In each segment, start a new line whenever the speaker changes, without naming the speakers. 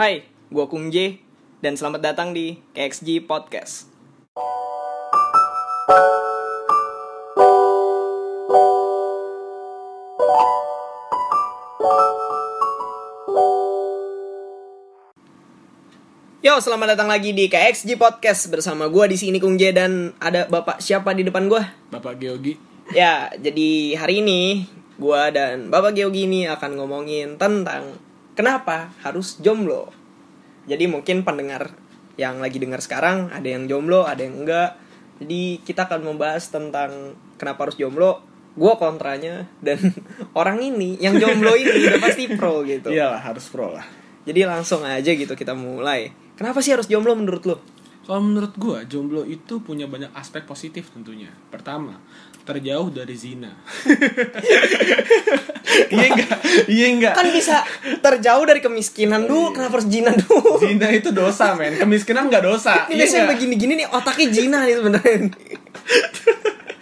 Hai, gue Kung J dan selamat datang di KXG Podcast. Yo, selamat datang lagi di KXG Podcast bersama gue di sini Kung J dan ada Bapak siapa di depan gue?
Bapak Geogi
Ya, jadi hari ini gue dan Bapak Geogi ini akan ngomongin tentang kenapa harus jomblo. Jadi mungkin pendengar yang lagi dengar sekarang ada yang jomblo, ada yang enggak. Jadi kita akan membahas tentang kenapa harus jomblo. Gue kontranya dan orang ini yang jomblo ini udah pasti pro gitu.
Iyalah harus pro Iya lah
Jadi langsung aja gitu kita mulai. Kenapa sih harus jomblo menurut lo?
Soal menurut gua jomblo itu punya banyak aspek positif tentunya Pertama terjauh dari zina Iya enggak? Iya enggak?
Kan bisa terjauh dari kemiskinan dulu, kenapa harus jina dulu?
Zina itu dosa men Kemiskinan enggak dosa
Ini
Iya
biasanya
nggak?
begini-gini nih otaknya Jina nih sebenarnya.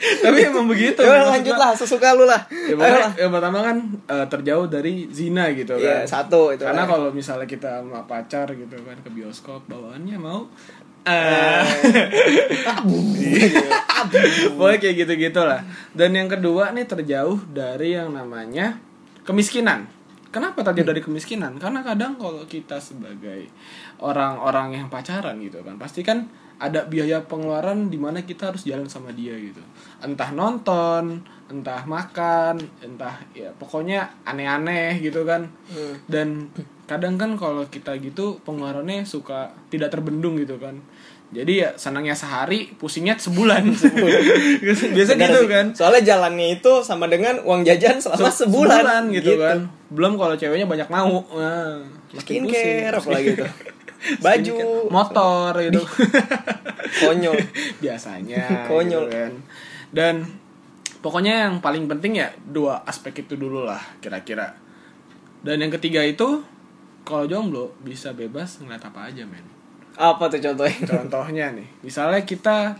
Tapi emang begitu
Yaudah,
maksud
lanjut
gua.
lah, sesuka lu lah. Ayo
Ya, pokoknya,
lah.
yang pertama kan eh, terjauh dari zina gitu
Iya,
kan
satu itu.
Karena
kan.
kalau misalnya kita sama pacar gitu kan ke bioskop bawaannya mau
Eh,
eh Pokoknya kayak gitu-gitu lah Dan yang kedua nih terjauh dari yang namanya kemiskinan Kenapa terjauh dari kemiskinan? Karena kadang kalau kita sebagai orang-orang yang pacaran gitu kan Pasti kan ada biaya pengeluaran dimana kita harus jalan sama dia gitu Entah nonton, entah makan, entah ya pokoknya aneh-aneh gitu kan
Hmm.
dan kadang kan kalau kita gitu pengeluarannya suka tidak terbendung gitu kan jadi ya senangnya sehari pusingnya sebulan biasa
benar
gitu
sih.
kan
Soalnya jalannya itu sama dengan uang jajan selama
Se-
sebulan,
gitu, kan belum kalau ceweknya banyak mau nah, makin
Skincare
pusing.
apalagi itu. Baju,
Skincare. motor gitu
konyol.
biasanya
Konyol.
gitu kan. dan pokoknya yang paling penting ya dua aspek itu dulu lah kira-kira dan yang ketiga itu kalau jomblo bisa bebas ngeliat apa aja men
Apa tuh contohnya?
contohnya nih misalnya kita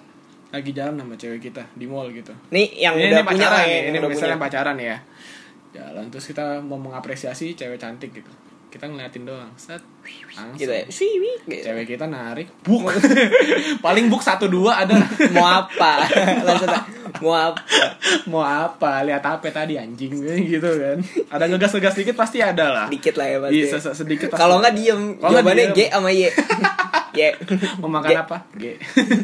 lagi jalan sama cewek kita di mall gitu
Nih yang
ini,
udah punya
ini pacaran
lah ya,
nih, ini
yang udah
misalnya
punya.
pacaran ya jalan terus kita mau mengapresiasi cewek cantik gitu kita ngeliatin doang set langsung
Gitu ya. Sui, wih, gitu.
cewek kita narik buk paling buk satu dua ada
Mau apa? Langsung tak, mau apa?
mau apa lihat apa tadi anjing gitu kan ada ngegas ngegas dikit pasti ada lah
Dikit lah ya pasti.
Iya, se- sedikit pasti
Kalau
ada.
nggak diem,
Kalau nggak
jawabannya G
diem.
sama Y. Y.
mau makan
G.
apa G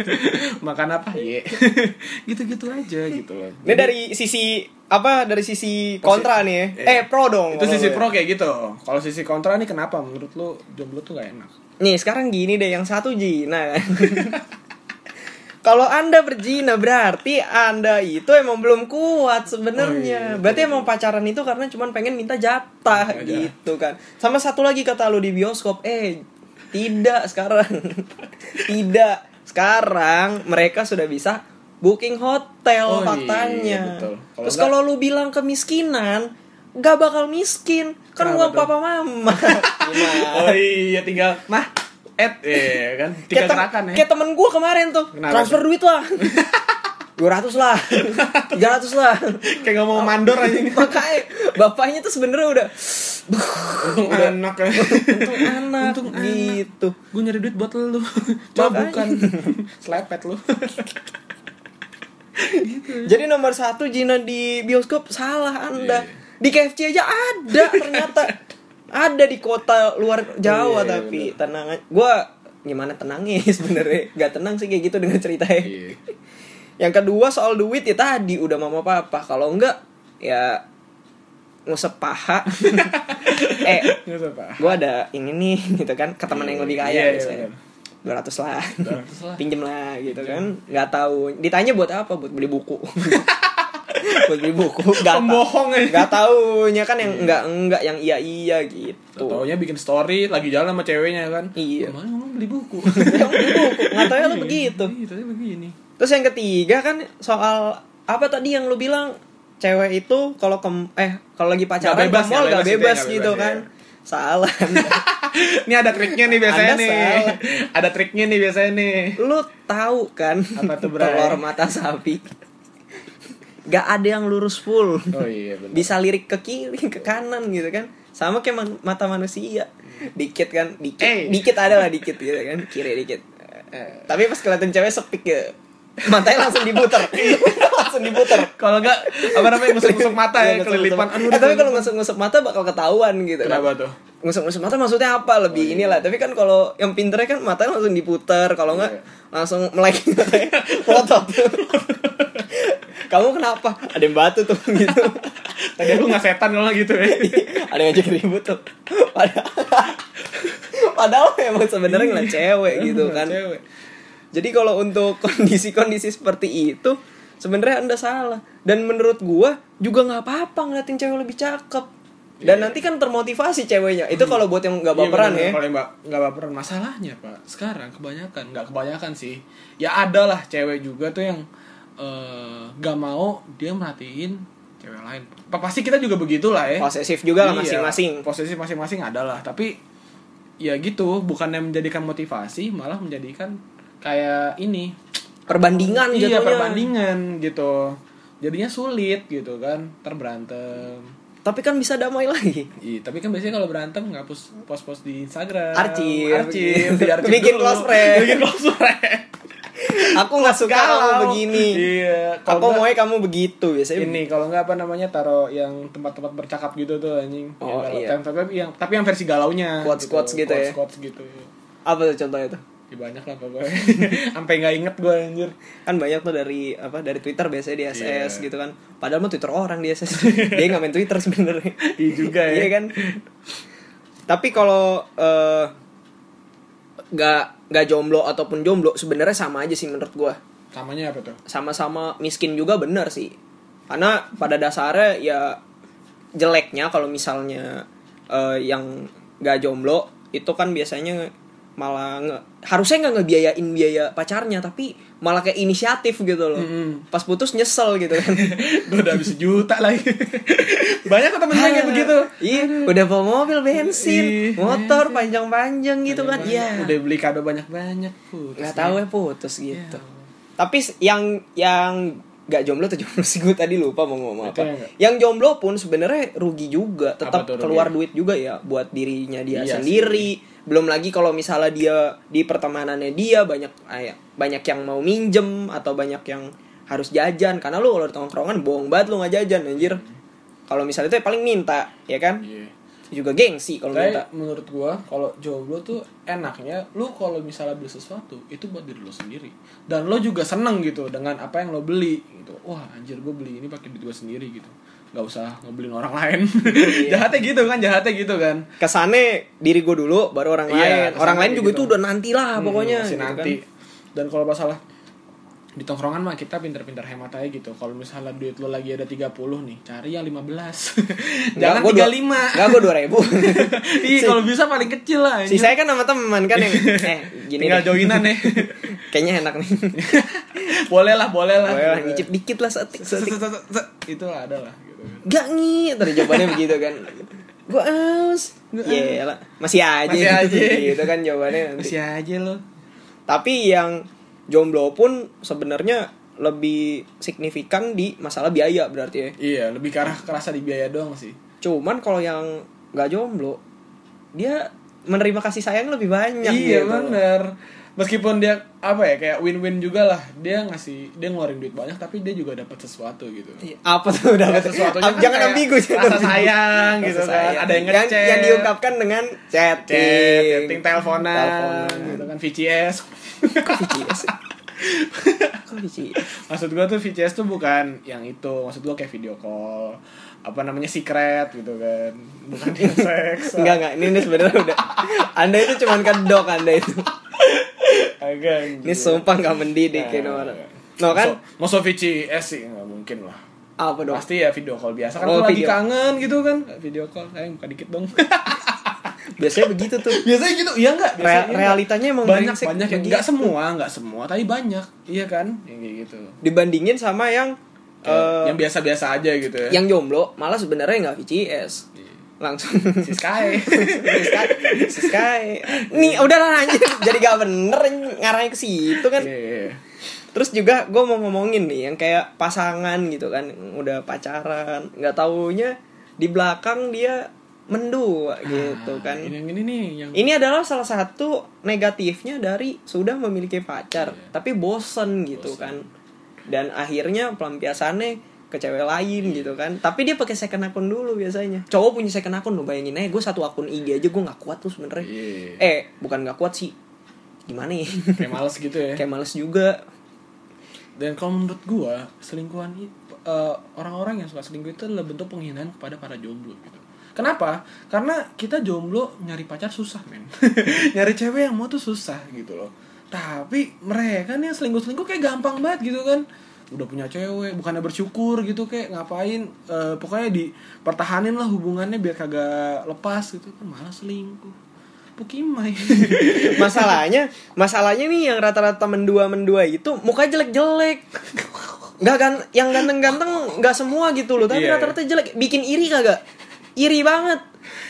makan apa Ye gitu gitu aja gitu loh
Ini dari sisi apa dari sisi kontra nih ya.
Iya.
Eh pro dong.
itu
kalau
sisi
gue.
pro kayak gitu kalau sisi kontra nih kenapa menurut lu jomblo tuh gak enak
Nih sekarang gini deh yang satu Jina kan. Kalau anda berjina berarti anda itu emang belum kuat
Oh,
sebenarnya.
iya.
berarti emang pacaran itu karena cuman pengen minta jatah
Iya.
gitu kan. Sama satu lagi kata lu di bioskop, eh tidak sekarang, tidak sekarang mereka sudah bisa booking hotel
Oh, iya,
faktanya.
betul. Kalau
Terus
nggak-
kalau lu bilang kemiskinan, gak bakal miskin kan
Kenapa
uang
tuh?
papa mama. Gimana?
oh iya tinggal nah et eh kan tiga
kayak, tem-
gerakan ya
kayak temen gue kemarin tuh
Kenapa
transfer duit lah 200 lah 300 lah
kayak nggak mau mandor aja gitu
makanya bapaknya tuh sebenarnya udah
untung anak ya
untung anak
Untung anak.
gitu
gue nyari duit buat lu coba
Makanya.
bukan selepet lu
jadi nomor satu Jina di bioskop salah anda
Iya.
di KFC aja ada ternyata ada di kota luar Jawa
Iya, iya,
tapi tenang gue gimana tenangnya sebenarnya nggak tenang sih kayak gitu dengan ceritanya
iya
Yang kedua soal duit ya tadi udah mama papa. Kalau enggak ya ngusep paha. eh,
nggak apa
gua ada ini nih gitu kan ke teman yang lebih
Iya,
kaya
iya,
biasanya.
benar.
200 lah.
200 lah.
Pinjem lah gitu kan. nggak tahu. Ditanya buat apa? Buat beli buku. buat beli buku. Gak
Pembohong aja.
Gak taunya kan yang enggak enggak yang iya iya gitu.
Taunya bikin story lagi jalan sama ceweknya kan.
Iya.
Kemarin ngomong beli buku.
Yang beli buku. Nggak taunya lu begitu.
Iya, taunya begini.
Terus yang ketiga kan soal apa tadi yang lu bilang cewek itu kalau ke eh kalau lagi pacaran
Nggak bebas
ke mall
ya,
nggak
bebas
bebas,
itu ya, nggak
gitu
bebas,
kan. Salah.
Ini ada triknya nih biasanya
Anda
nih.
salah.
Ada triknya nih biasanya nih.
lu tahu kan
Apa tuh, Bray?
telur mata sapi. Gak ada yang lurus full.
Oh iya benar.
Bisa lirik ke kiri, ke kanan gitu kan. Sama kayak man- mata manusia. dikit kan dikit
Eh.
dikit ada lah dikit gitu kan kiri dikit Eh, tapi pas kelihatan cewek sepik ya matanya langsung diputer langsung diputer
Kalau enggak apa namanya nusuk-nusuk mata ya
Iya,
kelilipan.
ngusuk-ngusuk.
Aduh,
Eh, tapi
udah,
kalau ngusuk-ngusuk mata bakal ketahuan gitu kan.
kenapa Oh, iya. tuh?
Ngusuk-ngusuk mata maksudnya apa lebih inilah tapi kan kalau yang pinternya kan matanya langsung diputer kalau nggak
Iya.
langsung melek melotot kamu kenapa ada yang batu tuh gitu
Tadi aku nggak setan kalau gitu ya.
ada yang ngajak ribut tuh padahal padahal emang sebenarnya ngeliat cewek gitu kan
Iya, Cewek.
jadi kalau untuk kondisi-kondisi seperti itu sebenarnya anda salah dan menurut gua juga nggak apa-apa ngeliatin cewek lebih cakep dan nanti kan termotivasi ceweknya itu kalau buat yang nggak
Iya,
baperan
bener-bener.
ya
Kalau yang ba- nggak baperan masalahnya pak. Sekarang kebanyakan nggak kebanyakan sih. Ya ada lah cewek juga tuh yang eh, nggak mau dia merhatiin cewek lain. Pa- Pasti kita juga begitulah ya.
posesif juga lah
Iya,
masing-masing
Posisi masing-masing adalah. Tapi ya gitu bukannya menjadikan motivasi malah menjadikan kayak ini
perbandingan
iya
jatuhnya
perbandingan gitu jadinya sulit gitu kan terberantem
tapi kan bisa damai lagi
Iya, tapi kan biasanya kalau berantem ngapus post-post di Instagram.
Arsip.
arsip, di arsip
Bikin
dulu.
close friend.
bikin close friend.
aku nggak suka kamu
Galau.
begini aku
Iya, kalau
mau ya?
nggak-
kamu begitu biasanya
ini kalau nggak apa namanya taruh yang tempat-tempat bercakap gitu tuh anjing.
Oh,
Yang galau.
iya.
Tapi- Tapi yang tapi yang versi galaunya.
Quotes-quotes gitu ya.
Quotes-quotes gitu.
apa tuh contohnya tuh
Ya, banyak lah pokoknya. Sampai nggak inget gue anjir.
kan banyak tuh dari apa dari Twitter biasanya di SS
Iya.
gitu kan padahal mah Twitter orang di SS dia nggak main Twitter sebenarnya
Iya juga ya.
iya kan tapi kalau eh, nggak nggak jomblo ataupun jomblo sebenarnya sama aja sih menurut gua
Samanya apa tuh?
sama-sama miskin juga bener sih karena pada dasarnya ya jeleknya kalau misalnya eh, yang gak jomblo itu kan biasanya malah nge- harusnya nggak ngebiayain biaya pacarnya tapi malah kayak inisiatif gitu loh
Mm-mm.
pas putus nyesel gitu kan
gue udah habis sejuta lagi. banyak kok temen gue yang kayak begitu.
iya udah bawa mobil bensin
Ih, iya
motor panjang-panjang gitu kan
Banyak,
iya
Udah iya. beli kado banyak-banyak. putus
nggak
dia.
tahu ya putus gitu
Iya.
tapi s- yang yang nggak jomblo tuh jomblo sih gue tadi lupa mau ngomong apa
Itu yang nggak-
yang jomblo pun sebenarnya rugi juga tetap
tuh rugi?
keluar duit juga ya buat dirinya dia
Iya
sendiri belum lagi kalau misalnya dia di pertemanannya dia banyak ay- banyak yang mau minjem atau banyak yang harus jajan karena lu kalau di tongkrongan bohong banget lu nggak jajan anjir kalau misalnya itu ya paling minta ya kan
Iya.
juga gengsi kalau
Tapi
minta
menurut gua kalau jomblo tuh enaknya lu kalau misalnya beli sesuatu itu buat diri lo sendiri dan lo juga seneng gitu dengan apa yang lo beli gitu. Wah anjir gua beli ini pakai duit gua sendiri gitu. Gak usah ngebeliin orang lain.
Iya.
jahatnya gitu kan, jahatnya gitu kan.
kesane diri gue dulu baru orang
Iya,
lain orang
kesannya
lain juga
gitu.
itu udah nanti lah pokoknya
Hmm, masih
gitu
nanti.
kan.
Dan kalau masalah di tongkrongan mah kita pinter-pinter hemat aja gitu. Kalau misalnya duit lo lagi ada 30 nih, cari yang 15. Jangan
Nggak, gua dua-
35.
nggak gue dua ribu
Iya, kalau bisa paling kecil lah.
si
anjir.
saya kan sama teman kan yang eh gini
Tinggal
deh.
joinan ya.
kayaknya enak nih
boleh lah, boleh lah.
Boleh lah, nyicip dikit lah setik setik
Itu lah ada lah gitu.
gak ngi tadi jawabannya begitu kan gue aus ya lah masih aja
Masih aja.
gitu kan jawabannya nanti.
Masih aja lo.
tapi yang jomblo pun sebenarnya lebih signifikan di masalah biaya berarti ya
Iya, lebih ke arah kerasa di biaya doang sih.
cuman kalau yang nggak jomblo dia menerima kasih sayang lebih banyak
iya
gitu.
bener meskipun dia apa ya kayak win-win juga lah dia ngasih dia ngeluarin duit banyak tapi dia juga dapat sesuatu gitu
Iya, apa tuh udah
Kayak sesuatunya kan
jangan
kayak
ambigu jangan
rasa
ambigu.
sayang
Rasa
gitu
sayang.
kan ada yang ngechat
yang diungkapkan dengan chatting
chat chatting teleponan,
Teleponan.
gitu kan VCS
kok VCS kok VCS
maksud gua tuh VCS tuh bukan yang itu maksud gua kayak video call apa namanya secret gitu kan bukan yang seks
enggak enggak ini, ini sebenarnya udah anda itu cuman kedok anda itu
agak gitu. Nah.
ini sumpah nggak mendidik
Iya.
ini orang no kan
mau so VCS sih nggak mungkin lah
apa dong
Pasti ya video call biasa kan
Oh,
lu lagi
video.
kangen gitu kan video call sayang buka dikit dong
biasanya begitu tuh
biasanya gitu iya enggak
Re- realitanya emang
banyak
brengsek
banyak yang
begitu.
enggak semua enggak semua tapi banyak iya kan yang kayak gitu
dibandingin sama yang
Kayak
eh,
yang biasa-biasa aja gitu ya
yang jomblo malah sebenarnya nggak VCS langsung
si Sky
Siska, Siska, nih udahlah anjir jadi gak bener ngarahnya ke situ kan.
Iya, iya, iya.
Terus juga gue mau ngomongin nih yang kayak pasangan gitu kan, yang udah pacaran, nggak taunya di belakang dia mendua gitu kan.
Ah, Nah, Ini yang ini nih yang
Ini adalah salah satu negatifnya dari sudah memiliki pacar, tapi bosen gitu kan. Dan akhirnya pelampiasannya ke cewek lain gitu kan. Tapi dia pakai second akun dulu biasanya. Cowok punya second akun lo bayangin aja gue satu akun IG aja gue nggak kuat tuh sebenernya.
Iya.
Eh bukan nggak kuat sih. Gimana ya?
kayak males gitu ya.
Kayak males juga.
Dan kalau menurut gua, selingkuhan i- eh, orang-orang yang suka selingkuh itu adalah bentuk penghinaan kepada para jomblo gitu. Kenapa? Karena kita jomblo nyari pacar susah, men. nyari cewek yang mau tuh susah gitu loh. Tapi mereka nih yang selingkuh-selingkuh kayak gampang banget gitu kan. Udah punya cewek, bukannya bersyukur gitu kayak ngapain eh, pokoknya dipertahanin lah hubungannya biar kagak lepas gitu kan malah selingkuh. Pukimai.
masalahnya masalahnya nih yang rata-rata mendua mendua itu muka jelek-jelek nggak kan yang ganteng-ganteng nggak semua gitu loh tapi
Iya, iya.
rata-rata jelek bikin iri kagak iri banget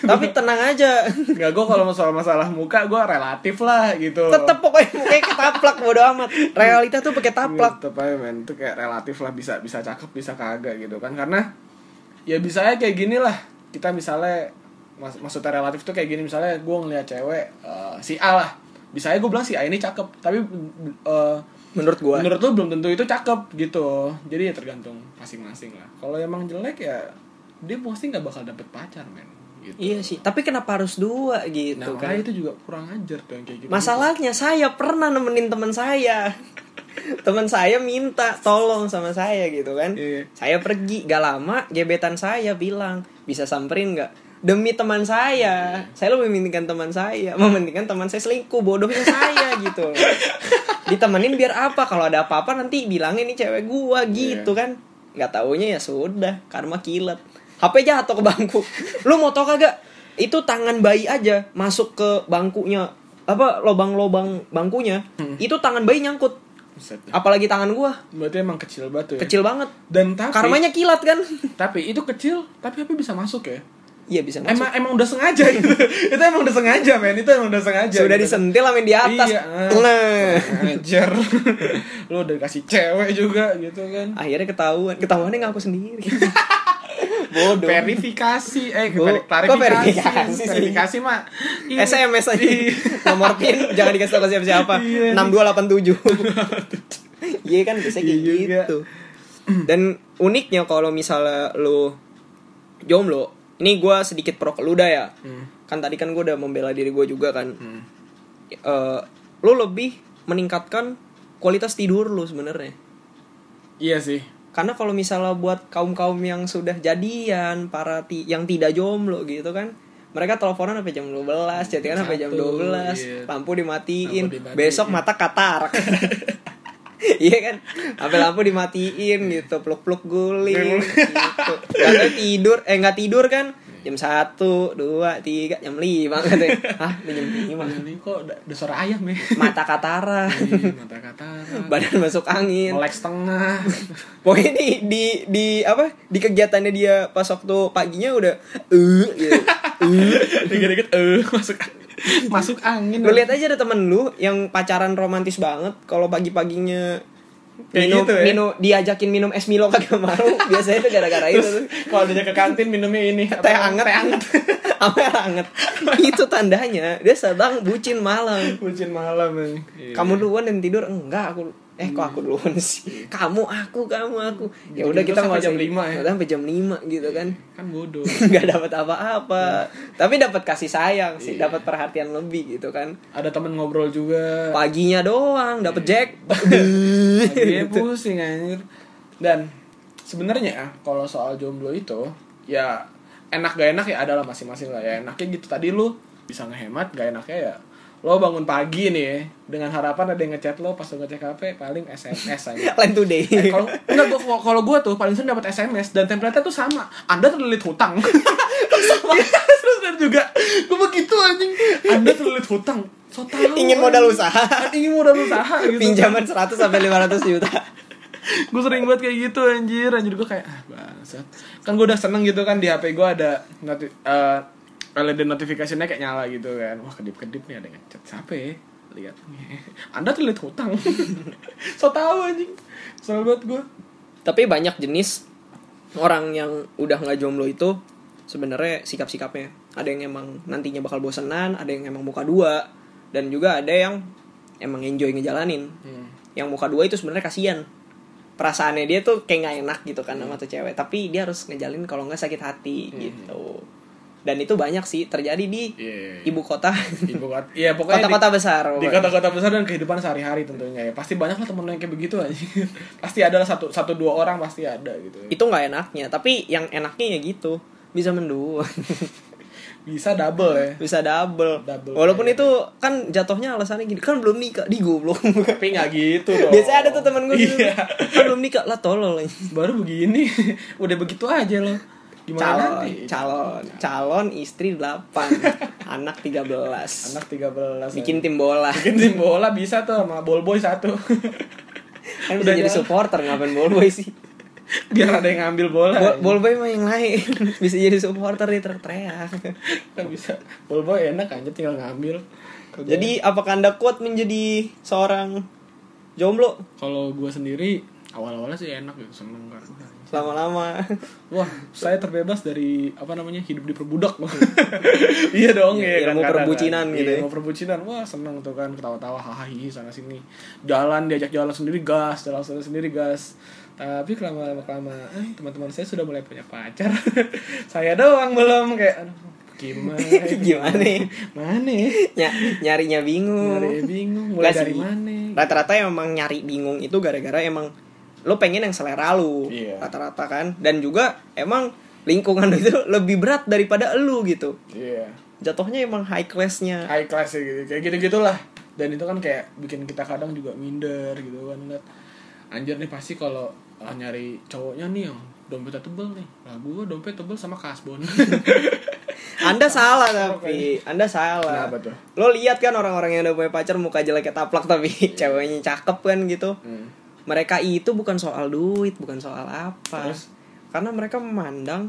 tapi tenang aja
Gak gue kalau masalah masalah muka gue relatif lah gitu.
tetep pokoknya mukanya ketaplak bodo amat realita tuh pakai taplak
Tetep Iya, aja men Itu kayak relatif lah Bisa bisa cakep bisa kagak gitu kan Karena Ya bisa aja kayak gini lah Kita misalnya mas- Maksudnya relatif tuh kayak gini Misalnya gue ngeliat cewek eh, Si A lah Bisa aja gue bilang si A ini cakep Tapi eh,
menurut gua
Menurut lu belum tentu itu cakep gitu Jadi ya tergantung masing-masing lah Kalau emang jelek ya Dia pasti nggak bakal dapet pacar men gitu.
iya sih tapi kenapa harus dua gitu
Nah
kan
makanya itu juga kurang ajar tuh yang kayak gitu
Masalahnya saya pernah nemenin teman saya. Teman saya minta tolong sama saya gitu kan.
Iya.
Saya pergi gak lama gebetan saya bilang, "Bisa samperin gak? Demi teman saya. Saya lebih mementingkan teman saya, mementingkan teman saya selingkuh bodohnya saya gitu. Ditemenin biar apa? Kalau ada apa-apa nanti bilangin ini cewek gua gitu
Iya.
kan. Gak taunya ya sudah, karma kilat. HP jatuh ke bangku. Lu mau tau kagak? Itu tangan bayi aja masuk ke bangkunya apa lobang-lobang bangkunya
Hmm.
itu tangan bayi nyangkut
Buset dah.
apalagi tangan gua
Berarti emang kecil banget tuh ya
kecil banget
Dan tapi
karmanya kilat kan
Tapi itu kecil, tapi HP bisa masuk ya.
iya bisa masuk.
Emang emang udah sengaja itu. itu emang udah sengaja, men. Itu emang udah sengaja.
sudah
gitu.
disentil amin di atas
Iya.
nah
Ajar. Lu udah kasih cewek juga gitu kan.
akhirnya ketahuan ketahuannya ngaku sendiri bodoh
Verifikasi, eh
Gua-
veri-
kok
klarifikasi,
verifikasi sih?
Verifikasi, Iya. mah. Ini-
SMS aja nomor pin jangan dikasih tau ke siapa-siapa
Iya.
6287 iya kan bisa kayak
Iya juga.
gitu dan uniknya kalau misalnya lu jomblo ini gua sedikit pro keluda ya
Hmm.
kan tadi kan gue udah membela diri gue juga kan Eh, lu lebih meningkatkan kualitas tidur lu sebenarnya
Iya sih.
karena kalau misalnya buat kaum kaum yang sudah jadian para ti- yang tidak jomblo gitu kan mereka teleponan sampai jam 12, chattingan sampai jam
Satu,
12,
iya.
lampu dimatiin,
Lampu dimatiin.
besok mata katarak. Iya kan? Sampai lampu dimatiin gitu, peluk-peluk guling gitu. Karena tidur, eh nggak tidur kan? Jam 1, 2, 3, jam 5 katanya. Hah, udah jam 5.
Ini kok udah udah suara ayam ya.
Mata katarak,
Ih, Mata kata.
badan masuk angin.
Melek setengah.
Pokoknya di, di di apa di kegiatannya dia pas waktu paginya udah eh gitu.
Dikit-dikit eh masuk masuk angin.
lu lihat aja ada temen lu yang pacaran romantis banget kalau pagi-paginya
Kayak
minum,
gitu ya?
minum- diajakin minum es Milo kagak mau biasanya itu gara-gara itu tuh.
Terus kalau dia ke kantin minumnya ini apa
teh
namanya?
anget teh anget sama air anget itu tandanya dia sedang bucin malam Iya.
Bucin malam ya.
kamu duluan dan tidur enggak aku eh kok aku duluan sih kamu aku kamu aku ya udah
Gitu-gitu
kita
Iya. sampai
nggak
jam
usah-
lima ya.
sampai jam 5 gitu kan
kan bodoh.
nggak dapat apa-apa
Iya.
tapi dapat kasih sayang sih dapat perhatian lebih gitu kan
Ada teman ngobrol juga.
paginya doang dapat
Iya.
jack Iya,
Dia pusing
gitu.
anjir. Dan sebenarnya ya, kalau soal jomblo itu ya enak gak enak ya adalah masing-masing lah ya. Enaknya gitu tadi lu bisa ngehemat, gak enaknya ya lo bangun pagi nih dengan harapan ada yang ngechat lo pas lo ngecek HP paling SMS aja.
lain today
Eh, kalau enggak gua kalau gua tuh paling sering dapat SMS dan template-nya tuh sama. Anda terlilit hutang. Terus dan juga gua begitu anjing. Anda terlilit hutang. So tau,
ingin modal
anjing.
usaha
Ingin modal usaha gitu.
pinjaman 100 sampai 500 juta
Gue sering banget kayak gitu anjir. Anjir gua kayak ah bangsat. Kan gua udah seneng gitu kan di HP gua ada noti eh, LED notification-nya kayak nyala gitu kan. Wah, kedip-kedip nih ada yang ngechat. Siapa ya? Lihat. Anda terlilit hutang. so tau anjing. Soal banget gua.
tapi banyak jenis orang yang udah nggak jomblo itu sebenarnya sikap-sikapnya ada yang emang nantinya bakal bosenan ada yang emang muka dua dan juga ada yang emang enjoy ngejalanin yang muka dua itu sebenarnya kasihan perasaannya dia tuh kayak nggak enak gitu kan
Hmm.
sama tuh cewek tapi dia harus ngejalin kalau nggak sakit hati gitu dan itu banyak sih terjadi di
Iya.
ibu kota
Ibu kota, iya pokoknya di-
kota-kota besar
di kota-kota besar dan kehidupan sehari-hari tentunya ya pasti banyak lah temen lu yang kayak begitu aja pasti ada lah satu satu dua orang pasti ada gitu
itu nggak enaknya tapi yang enaknya ya gitu bisa mendua
bisa double ya
bisa double.
Double. iya.
walaupun itu kan jatuhnya alasannya gini kan belum nikah di goblok
tapi nggak gitu dong
biasanya ada tuh temen gue gitu
iya.
kan belum nikah lah tolol
baru begini udah begitu aja loh gimana
calon
nanti Iya.
calon calon istri 8 anak 13
anak 13
bikin tim bola
bikin tim bola bisa tuh sama ball boy satu
kan bisa
Udah
jadi
jalan.
supporter ngapain ballboy sih
biar ada yang ngambil bola
Ball- ballboy mah yang lain bisa jadi supporter ya, di teriak
Nggak Kan bisa ball boy enak aja tinggal ngambil Kerjanya.
jadi apakah anda kuat menjadi seorang jomblo
kalau gue sendiri awal-awalnya sih enak gitu seneng kan
lama-lama
Wah, saya terbebas dari apa namanya hidup diperbudak. iya dong
Iya, ilmu
kadang-kadang.
perbucinan gitu
Iya,
ya.
Ilmu perbucinan, wah seneng tuh kan ketawa-tawa, hahaha sana sini. Jalan diajak jalan sendiri gas, jalan sendiri, sendiri gas. Tapi kelama kelamaan teman-teman saya sudah mulai punya pacar. saya doang belum kayak aduh, gimana? ya?
gimana
mana?
ya nyarinya bingung
Mulai bingung, mulai
Nggak
dari
sih.
mana?
rata-rata emang nyari bingung itu gara-gara emang lo pengen yang selera lu
Iya.
rata-rata kan dan juga emang lingkungan itu lebih berat daripada lu gitu
Iya.
jatuhnya emang high classnya
high class ya gitu kayak gitu gitulah dan itu kan kayak bikin kita kadang juga minder gitu kan ngeliat anjir nih pasti kalau ah, nyari cowoknya nih yang dompetnya tebel nih lah gua dompet tebel sama kasbon
anda salah tapi anda salah
Kenapa tuh?
lo lihat kan orang-orang yang udah punya pacar muka jelek kayak taplak tapi
Iya.
ceweknya cakep kan gitu
Hmm.
mereka itu bukan soal duit bukan soal apa
Terus?
karena mereka memandang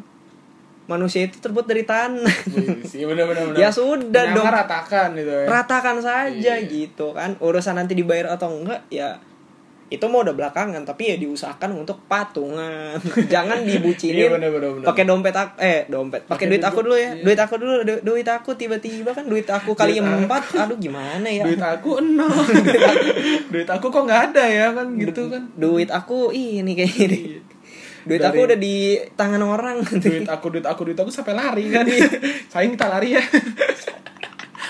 manusia itu terbuat dari tanah
Wih, Iya sih bener bener bener.
Ya sudah
Nyamar
dong.
ratakan gitu ya
ratakan saja
Iya.
gitu kan urusan nanti dibayar atau enggak ya itu mau udah belakangan tapi ya diusahakan untuk patungan jangan
iya
dibucinin
bener bener bener
pakai dompet aku eh dompet
Pakai
pakai duit aku
duit,
dulu ya
iya.
duit aku dulu du- duit aku tiba-tiba kan duit aku kali
Duit aku.
empat aduh gimana ya
duit aku nol duit aku kok nggak ada ya kan gitu kan
duit aku ini kayak gini
Iya.
duit aku
Dari-
udah di tangan orang
duit aku duit aku duit aku sampai lari kan sayang kita lari ya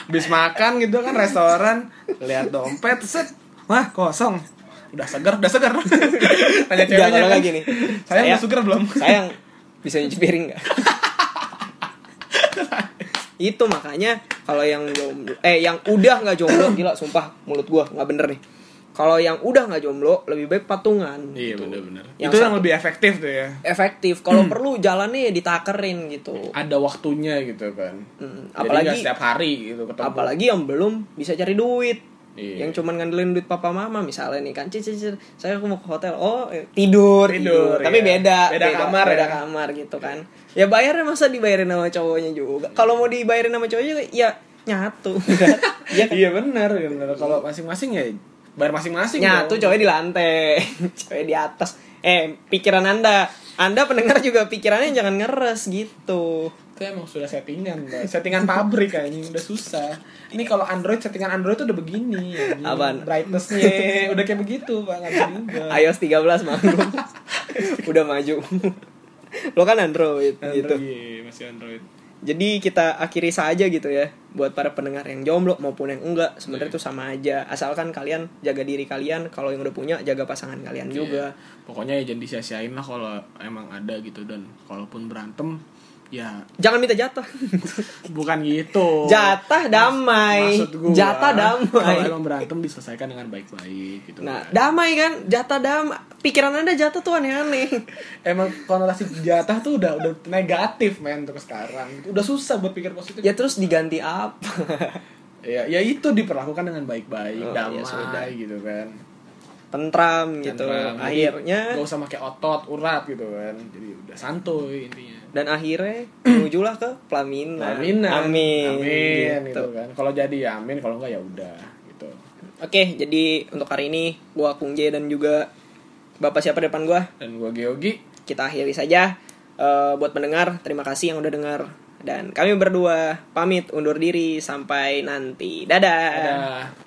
bis makan gitu kan restoran lihat dompet set wah kosong udah segar udah segar tanya
Enggak,
ceweknya
kalau
kan
nggak gini.
sayang
Saya-
udah segar belum
sayang bisa nyuci piring nggak itu makanya kalau yang jomblo eh yang udah nggak jomblo gila sumpah mulut gua nggak bener nih kalau yang udah nggak jomblo lebih baik patungan
iya
gitu.
bener-bener
Yang
itu yang
satu-
lebih efektif tuh ya
efektif kalau perlu jalannya ya ditakerin gitu
ada waktunya gitu kan
Hmm,
Jadi
apalagi-
nggak setiap hari gitu ketemu
apalagi yang belum bisa cari duit
Iya.
yang cuman ngandelin duit papa mama misalnya nih kan cici saya aku mau ke hotel oh eh, tidur
Tidur,
tapi
iya.
beda,
Beda kamar,
beda
ya.
kamar gitu kan ya bayarnya masa dibayarin sama cowoknya juga kalau mau dibayarin sama cowoknya juga, ya nyatu ya kan?
iya bener, bener. kalau masing-masing ya bayar masing-masing
nyatu
dong.
cowoknya di lantai cowoknya di atas eh pikiran anda anda pendengar juga pikirannya jangan ngeres gitu
itu emang sudah settingan Mbak. settingan pabrik kayaknya udah susah ini kalau Android settingan Android tuh udah begini anjing.
Apaan?
brightnessnya udah kayak begitu pak nggak bisa diubah
iOS 13 manggung udah maju lo kan Android, gitu
Android, iya, masih Android
Jadi kita akhiri saja gitu ya buat para pendengar yang jomblo maupun yang enggak sebenarnya
Iya.
itu sama aja asalkan kalian jaga diri kalian kalau yang udah punya jaga pasangan
Iya.
kalian juga.
pokoknya ya jangan disia-siain lah kalau emang ada gitu dan kalaupun berantem ya
Jangan minta jatah.
bukan gitu
jatah damai.
maksud gua
jatah damai.
kalau emang berantem diselesaikan dengan baik-baik gitu
Nah,
kan.
damai kan? Jatah damai. Pikiran Anda jatah tuh aneh-aneh.
emang konotasi jatah tuh udah udah negatif men terus sekarang udah susah buat pikir positif
Ya terus diganti apa?
Ya, ya itu diperlakukan dengan
Oh,
baik-baik, damai
ya sudah.
gitu kan.
Tentram gitu.
Tentram. Jadi,
Akhirnya
nggak usah pakai otot, urat gitu kan. Jadi udah santuy intinya.
dan akhirnya menujulah ke pelaminan.
Aminan.
Nah, Amin.
Amin
Gitu.
gitu kan. Kalau jadi ya amin, kalau enggak ya udah gitu.
Oke, jadi untuk hari ini gua Kung J dan juga Bapak siapa depan gua?
Dan gua Geogi
Kita akhiri saja Eh, buat pendengar. Terima kasih yang udah dengar Dan kami berdua pamit undur diri sampai nanti. Dadah.
Dadah.